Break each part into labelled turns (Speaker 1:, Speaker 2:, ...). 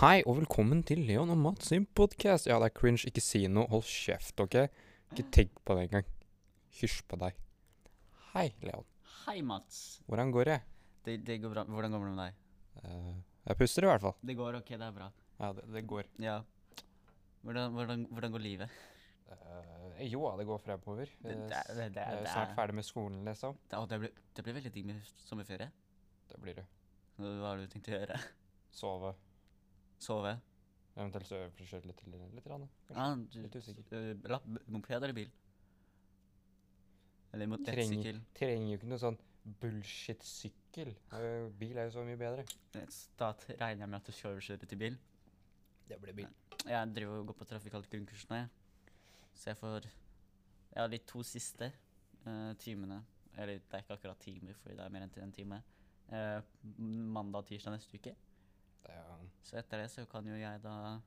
Speaker 1: Hei, og velkommen til Leon og Mats sin podkast. Ja, det er cringe. Ikke si noe. Hold kjeft, OK? Ikke tenk på det engang. Hysj på deg. Hei, Leon.
Speaker 2: Hei, Mats.
Speaker 1: Hvordan går det?
Speaker 2: Det, det går bra. Hvordan går det med deg?
Speaker 1: Eh, jeg puster i hvert fall.
Speaker 2: Det går ok, det er bra.
Speaker 1: Ja, det, det går.
Speaker 2: Ja. Hvordan, hvordan, hvordan går livet?
Speaker 1: Eh, jo da, det går fremover.
Speaker 2: Det-
Speaker 1: Eh,
Speaker 2: det er- det er-
Speaker 1: jeg er
Speaker 2: det
Speaker 1: snart
Speaker 2: er-
Speaker 1: ferdig med skolen, liksom.
Speaker 2: Det, å, det, blir, det blir veldig digg med sommerferie.
Speaker 1: Det blir det.
Speaker 2: Hva hva har du tenkt å gjøre?
Speaker 1: Sove.
Speaker 2: Sove?
Speaker 1: Eventuelt så øve på å kjøre litt, litt, litt rann, da, kanskje.
Speaker 2: Ah, du,
Speaker 1: Litt usikker.
Speaker 2: eh, lapp, moped eller bil? Eller mot
Speaker 1: Trenger-
Speaker 2: nettsykkel?
Speaker 1: Trenger jo ikke noe sånn bullshit-sykkel. Eh, bil er jo så mye bedre.
Speaker 2: Nets- Da t- Eh, regner jeg med at du kjører kjører til bil.
Speaker 1: Det blir bil.
Speaker 2: Jeg driver og går på trafikalt grunnkurs nå, jeg. Så jeg får Ja, de to siste eh, timene Eller det er ikke akkurat timer, fordi det er mer enn til en time. eh, m- mandag og tirsdag neste uke.
Speaker 1: Det er jo...
Speaker 2: Så etter det så kan jo jeg da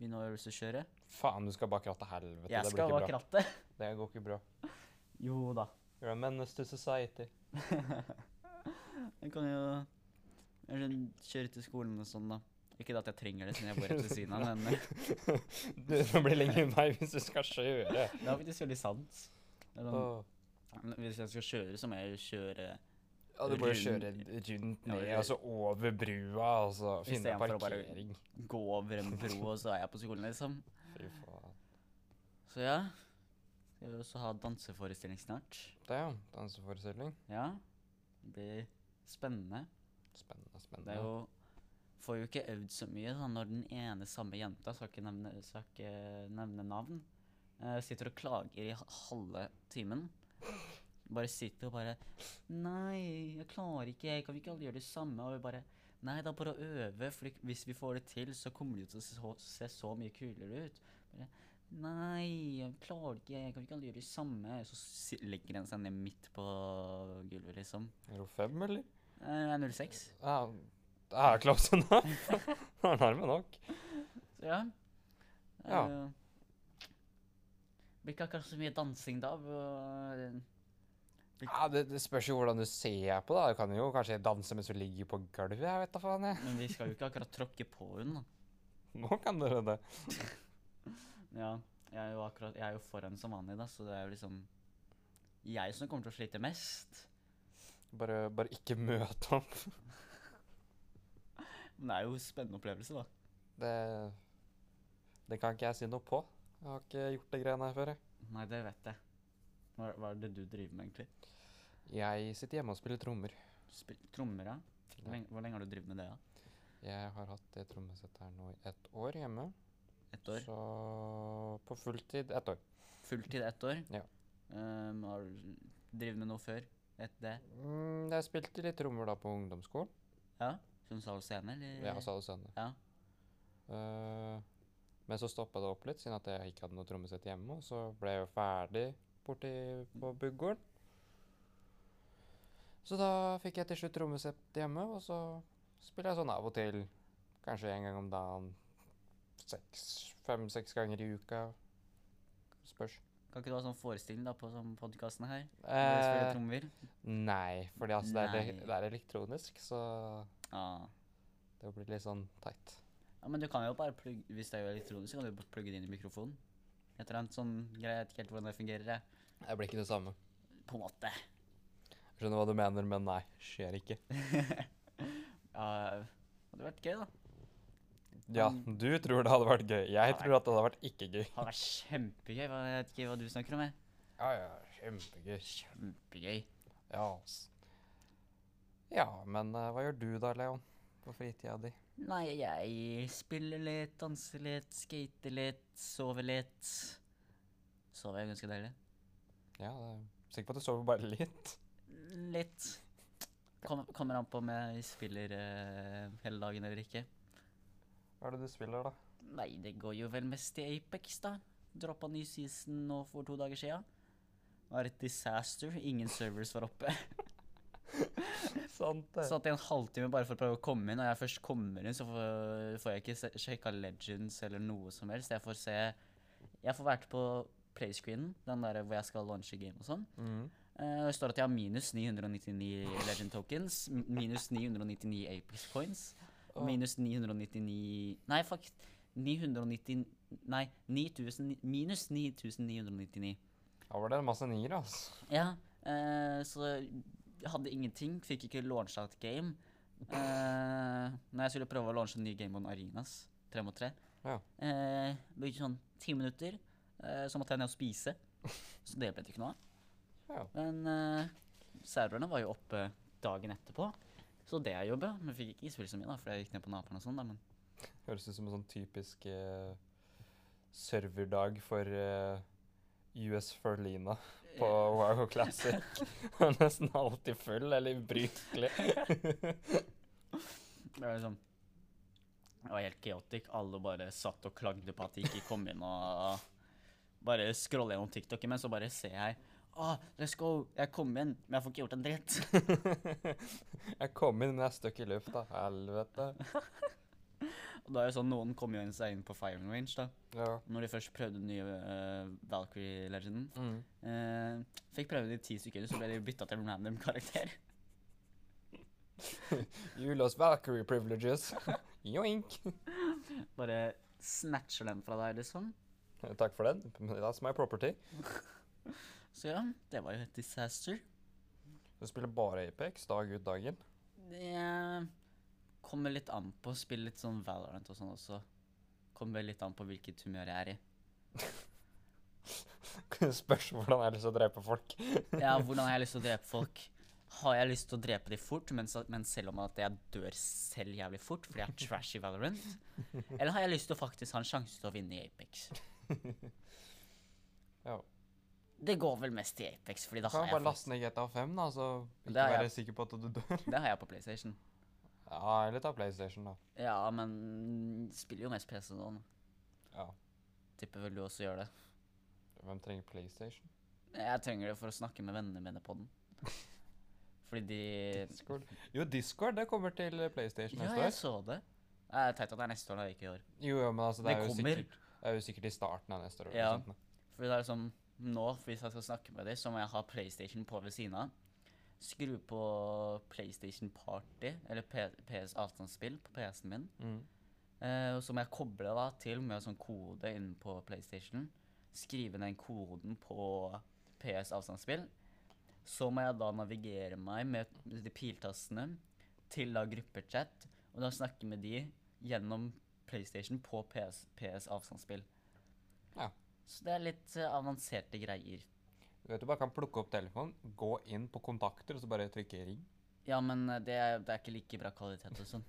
Speaker 2: begynne å øvelseskjøre.
Speaker 1: Faen, du skal bak rattet helvete.
Speaker 2: Jeg
Speaker 1: det blir
Speaker 2: skal
Speaker 1: ikke
Speaker 2: bak
Speaker 1: bra.
Speaker 2: rattet.
Speaker 1: Det går ikke bra.
Speaker 2: Jo da.
Speaker 1: You're a menace to society.
Speaker 2: Jeg kan jo jeg kan kjøre til skolen og sånn, da. Ikke at jeg trenger det siden jeg bor rett ved siden av, men eh,
Speaker 1: du, det blir lenger vei hvis du skal kjøre.
Speaker 2: det er faktisk veldig sant. Det er sånn,
Speaker 1: Åh.
Speaker 2: hvis jeg skal kjøre, så må jeg jo kjøre
Speaker 1: Ja, du må jo
Speaker 2: Rund-
Speaker 1: kjøre rundt
Speaker 2: Ja,
Speaker 1: ned,
Speaker 2: eller-
Speaker 1: altså over brua, altså finne
Speaker 2: stedet for å bare-
Speaker 1: parkering.
Speaker 2: gå over en bro, og så er jeg på skolen, liksom.
Speaker 1: Fy faen.
Speaker 2: Så ja. Skal jo også ha danseforestilling snart.
Speaker 1: Det er jo danseforestilling.
Speaker 2: Ja. Det blir spennende.
Speaker 1: Spennende,
Speaker 2: Det
Speaker 1: spennende.
Speaker 2: er jo Får jo ikke øvd så mye sånn når den ene samme jenta, skal ikke nevne, skal ikke nevne navn, eh, sitter og klager i ha- halve timen. Bare sitter og bare 'Nei, jeg klarer ikke. jeg Kan vi ikke alle gjøre det samme?' Og vi bare 'Nei, da bare å øve, for hvis vi får det til, så kommer det jo til å så- se så mye kulere ut.' Bare, 'Nei, jeg klarer det ikke. jeg Kan vi ikke alle gjøre det samme?' Så si- legger den seg ned midt på gulvet, liksom.
Speaker 1: Er du fem, eller?
Speaker 2: Eh, 06.
Speaker 1: Ja, det er close enough. Det er nærme nok.
Speaker 2: Så ja. Eh, Det er
Speaker 1: Ja.
Speaker 2: jo- Blir ikke akkurat så mye dansing da. eh, og-
Speaker 1: Ja, det, det spørs jo hvordan du ser på det. Du kan jo kanskje danse mens du ligger på gulvet, jeg vet da faen jeg.
Speaker 2: Men vi skal jo ikke akkurat tråkke på hun da.
Speaker 1: Nå kan dere det.
Speaker 2: Ja, jeg er jo, akkurat, jeg er jo foran som vanlig, da, så det er jo liksom jeg som kommer til å slite mest.
Speaker 1: Bare, bare ikke møte opp.
Speaker 2: Men det er jo en spennende opplevelse, da.
Speaker 1: Det, det kan ikke jeg si noe på. Jeg har ikke gjort de greiene her før. jeg.
Speaker 2: Nei, det vet jeg. Hva, hva er det du driver med, egentlig?
Speaker 1: Jeg sitter hjemme og spiller trommer.
Speaker 2: Spil trommer, ja? Hvor
Speaker 1: Ja.
Speaker 2: lenge, hvor lenge har du drevet med det, da?
Speaker 1: Jeg har hatt det trommesettet her nå i ett år hjemme.
Speaker 2: Ett år?
Speaker 1: Så på fulltid ett år.
Speaker 2: Fulltid ett år?
Speaker 1: Ja.
Speaker 2: Ehm, har du drevet med noe før? Etter det?
Speaker 1: Mm, jeg spilte litt trommer da på ungdomsskolen.
Speaker 2: Ja? Som salgscene, eller?
Speaker 1: Jeg sa det senere.
Speaker 2: Ja.
Speaker 1: Eh, men så stoppa det opp litt, siden at jeg ikke hadde noe trommesett hjemme. Og så ble jeg jo ferdig borti på Buggården. Så da fikk jeg til slutt trommesett hjemme, og så spiller jeg sånn av og til. Kanskje en gang om dagen. Seks, Fem-seks ganger i uka. Spørs.
Speaker 2: Kan ikke du ha sånn forestilling da på sånn podkasten her? Hvor jeg spiller
Speaker 1: Eh,
Speaker 2: trommer?
Speaker 1: nei, fordi altså det, er,
Speaker 2: Nei.
Speaker 1: le- det er elektronisk, så
Speaker 2: Ja.
Speaker 1: det blir litt sånn teit.
Speaker 2: ja, men du kan jo bare plugge Hvis det er jo elektronisk, så kan du bare plugge det inn i mikrofonen. Et eller annet sånn greie. Jeg vet ikke helt hvordan det fungerer, jeg.
Speaker 1: Det blir ikke det samme.
Speaker 2: På en måte.
Speaker 1: Skjønner hva du mener, men nei, skjer ikke.
Speaker 2: Ja, hadde vært gøy, da.
Speaker 1: Ja,
Speaker 2: Men-
Speaker 1: du tror det hadde vært gøy. Jeg
Speaker 2: Hadde
Speaker 1: tror at det hadde vært ikke gøy.
Speaker 2: Hadde vært kjempegøy. hva- Jeg vet ikke hva du snakker om, jeg.
Speaker 1: Ja, ja, kjempegøy.
Speaker 2: Kjempegøy.
Speaker 1: Ja, ass. Ja, men eh, hva gjør du da, Leon? På fritida di?
Speaker 2: Nei, jeg spiller litt, danser litt, skater litt, sover litt. Sover jeg ganske deilig?
Speaker 1: Ja, det er sikker på at du sover bare litt.
Speaker 2: Litt. Kom, kommer an på om jeg spiller eh, hele dagen eller ikke.
Speaker 1: Hva er det du spiller, da?
Speaker 2: Nei, det går jo vel mest til Apex, da. Droppa ny season nå for to dager sia. Var et disaster. Ingen servers var oppe.
Speaker 1: Sant det.
Speaker 2: Satt i en halvtime bare for å prøve å komme inn. Og når jeg først kommer inn, så får, får jeg ikke se- sjekka Legends eller noe som helst. Jeg får se Jeg får vært på playscreenen, den der hvor jeg skal launche game og sånn.
Speaker 1: Mm.
Speaker 2: Eh, og det står at jeg har minus 999 Legend tokens, m- minus 999 Apex coins.
Speaker 1: Åh.
Speaker 2: Minus 999 Nei, fuck. 990 Nei, 9000 Minus 9999.
Speaker 1: Da var det en masse nier, altså.
Speaker 2: Ja, eh, så jeg hadde ingenting. Fikk ikke launcha et game. Eh, når jeg skulle prøve å launche en ny game on Arenas, tre mot tre
Speaker 1: Ja.
Speaker 2: eh, Brukte sånn ti minutter. Eh, så måtte jeg ned og spise. Så det ble det ikke noe av.
Speaker 1: Ja.
Speaker 2: Men eh, serverne var jo oppe dagen etterpå, så det er jo bra. Men fikk ikke spilt så mye, da, fordi jeg gikk ned på naboen og sånn. da, Men
Speaker 1: Høres ut som en sånn typisk eh, serverdag for eh, US Ferlina på Wow Classic. Den er Nesten alltid full, eller ubrukelig.
Speaker 2: det var liksom Det var helt kaotisk. Alle bare satt og klagde på at de ikke kom inn og Bare scrolle gjennom TikTok, men så bare ser jeg Ah, let's go! Jeg kom inn, men jeg får ikke gjort en dritt.
Speaker 1: jeg kom inn, men jeg er stuck i lufta. Helvete.
Speaker 2: Og da er det sånn, Noen kom jo inn seg inn på firing range, da.
Speaker 1: Ja.
Speaker 2: Når de først prøvde den nye eh, Valkyrie-legenden.
Speaker 1: Mm.
Speaker 2: Eh, fikk prøve det i ti sekunder, så ble de bytta til en random karakter.
Speaker 1: You lost Valkyrie privileges. Joink.
Speaker 2: Bare snatcher den fra deg, liksom.
Speaker 1: Takk for den. That's my property.
Speaker 2: Så ja, det var jo et disaster.
Speaker 1: Du spiller bare Apex dag ut dagen.
Speaker 2: Det kommer litt an på å spille litt sånn Valorant og sånn også. Kommer litt an på hvilket humør jeg er i.
Speaker 1: Spørs hvordan jeg har lyst til å drepe folk.
Speaker 2: Ja, hvordan har jeg lyst til å drepe folk? Har jeg lyst til å drepe de fort, men, så, men selv om at jeg dør selv jævlig fort fordi jeg er trash i Valorant? Eller har jeg lyst til å faktisk ha en sjanse til å vinne i Apex?
Speaker 1: Ja.
Speaker 2: Det går vel mest i Apex, fordi da
Speaker 1: Kan
Speaker 2: har
Speaker 1: jo
Speaker 2: jeg
Speaker 1: bare laste
Speaker 2: faktisk,
Speaker 1: ned GTA 5, da, så ikke
Speaker 2: Det har jeg.
Speaker 1: være sikker på at du dør.
Speaker 2: Det har jeg på PlayStation.
Speaker 1: Ja, eller ta PlayStation, da.
Speaker 2: Ja, men spiller jo mest PC nå.
Speaker 1: Ja.
Speaker 2: Tipper vel du også gjør det.
Speaker 1: Hvem trenger PlayStation?
Speaker 2: Jeg trenger det for å snakke med vennene mine på den. Fordi de
Speaker 1: Discord. Jo, Discord det kommer til eh, PlayStation
Speaker 2: Ja,
Speaker 1: neste
Speaker 2: jeg
Speaker 1: år.
Speaker 2: så det. Det er teit at det er neste år, da, ikke i år.
Speaker 1: Jo, jo, men altså, det,
Speaker 2: Det
Speaker 1: er jo
Speaker 2: kommer.
Speaker 1: sikkert, det er jo sikkert i starten av neste år. eller
Speaker 2: Ja.
Speaker 1: noe sånt nå.
Speaker 2: Fordi det er liksom Nå, hvis jeg skal snakke med dem, så må jeg ha PlayStation på ved siden av. Skru på PlayStation Party, eller P- PS avstandsspill, på PC-en min.
Speaker 1: Mm.
Speaker 2: Eh, og så må jeg koble da til med sånn kode inne på PlayStation. Skrive ned koden på PS avstandsspill. Så må jeg da navigere meg med de piltastene til da gruppechat, og da snakke med de gjennom PlayStation på PS, PS avstandsspill.
Speaker 1: Ja.
Speaker 2: Så det er litt eh, avanserte greier.
Speaker 1: Du vet du bare kan plukke opp telefonen, gå inn på kontakter og så bare trykke ring.
Speaker 2: Ja, men eh, det er, det er ikke like bra kvalitet og sånn.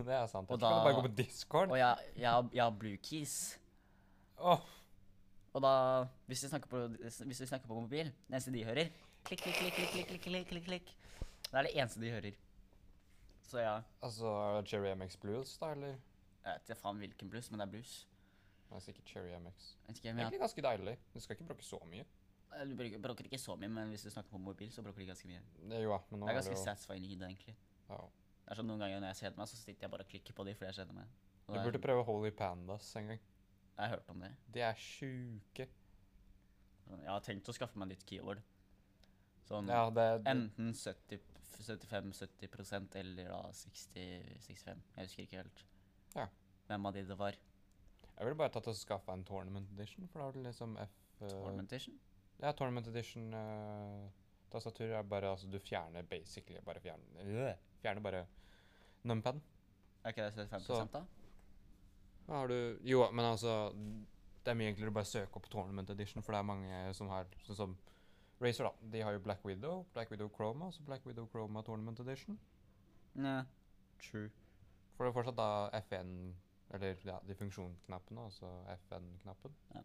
Speaker 1: Det er sant.
Speaker 2: Og
Speaker 1: Og da kan du bare
Speaker 2: da-
Speaker 1: gå på Discord.
Speaker 2: Og jeg, jeg, har- jeg har blue keys.
Speaker 1: Åh,
Speaker 2: Og da, hvis vi snakker på, hvis vi snakker på mobil, det eneste de hører Klikk, klikk, klikk, klikk, klikk, klikk, klikk, klikk. Det er det eneste de hører. Så ja,
Speaker 1: altså Cherry MX Blues, da, eller?
Speaker 2: jeg vet ikke faen hvilken blues, men det er blues.
Speaker 1: Det er sikkert Cherry MX.
Speaker 2: Jeg vet ikke, men jeg,
Speaker 1: Egentlig ganske deilig. Du skal ikke bruke så mye.
Speaker 2: eh, du bruker- bråker ikke så mye, men hvis du snakker på mobil, så bråker de ganske mye.
Speaker 1: Det, jo, ja, men nå
Speaker 2: Det er
Speaker 1: det
Speaker 2: ganske
Speaker 1: jo-
Speaker 2: satisfying lyd, egentlig.
Speaker 1: Ja.
Speaker 2: Det er sånn Noen ganger når jeg kjeder meg, så sitter jeg bare og klikker på de fordi jeg kjeder meg. Og
Speaker 1: Du
Speaker 2: det er
Speaker 1: burde
Speaker 2: sånn-
Speaker 1: prøve Holy Pandas en gang.
Speaker 2: Jeg har hørt om det.
Speaker 1: De er sjuke.
Speaker 2: Jeg har tenkt å skaffe meg nytt keyboard. Sånn
Speaker 1: Ja, det, det,
Speaker 2: enten 70, 75-70 eller da 60-65. Jeg husker ikke helt
Speaker 1: Ja.
Speaker 2: hvem av de det var.
Speaker 1: jeg ville bare tatt og skaffa en Tournament Edition, for da har du liksom F... eh,
Speaker 2: Ornamentation?
Speaker 1: Ja, Tournament Edition eh, tastatur er bare altså Du fjerner basically bare fjerner, øh, fjerner bare numpaden.
Speaker 2: Er ikke det 75
Speaker 1: Så-
Speaker 2: da?
Speaker 1: Da har du Jo, men altså Det er mye enklere å bare søke opp Tournament Edition, for det er mange som har Sånn som Razer, da. De har jo Black Widow, Black Widow Chroma og så Black Widow Chroma Tournament Edition.
Speaker 2: Nei. True.
Speaker 1: For det er fortsatt da FN Eller ja, de funksjonsknappene, altså FN-knappen.
Speaker 2: Jeg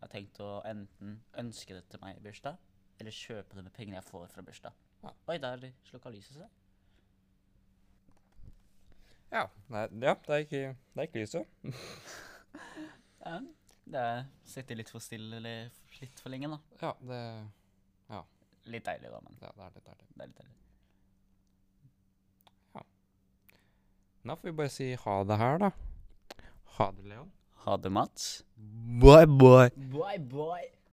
Speaker 2: har tenkt å enten ønske det til meg i bursdag, eller kjøpe det med pengene jeg får fra bursdag.
Speaker 1: Ja.
Speaker 2: Oi, der slukka lyset seg.
Speaker 1: Ja. Nei, ja, det er ikke, det er ikke lyset.
Speaker 2: Ja. Det er- sitter litt for stille eller f- litt for lenge, da.
Speaker 1: Ja, det
Speaker 2: Litt deilig, da, men
Speaker 1: Ja, det er litt deilig.
Speaker 2: det er litt deilig.
Speaker 1: Da får vi bare si ha det her, da. Ha det, Leon.
Speaker 2: Ha det, Mats.
Speaker 1: Bye, bye.
Speaker 2: Bye, bye.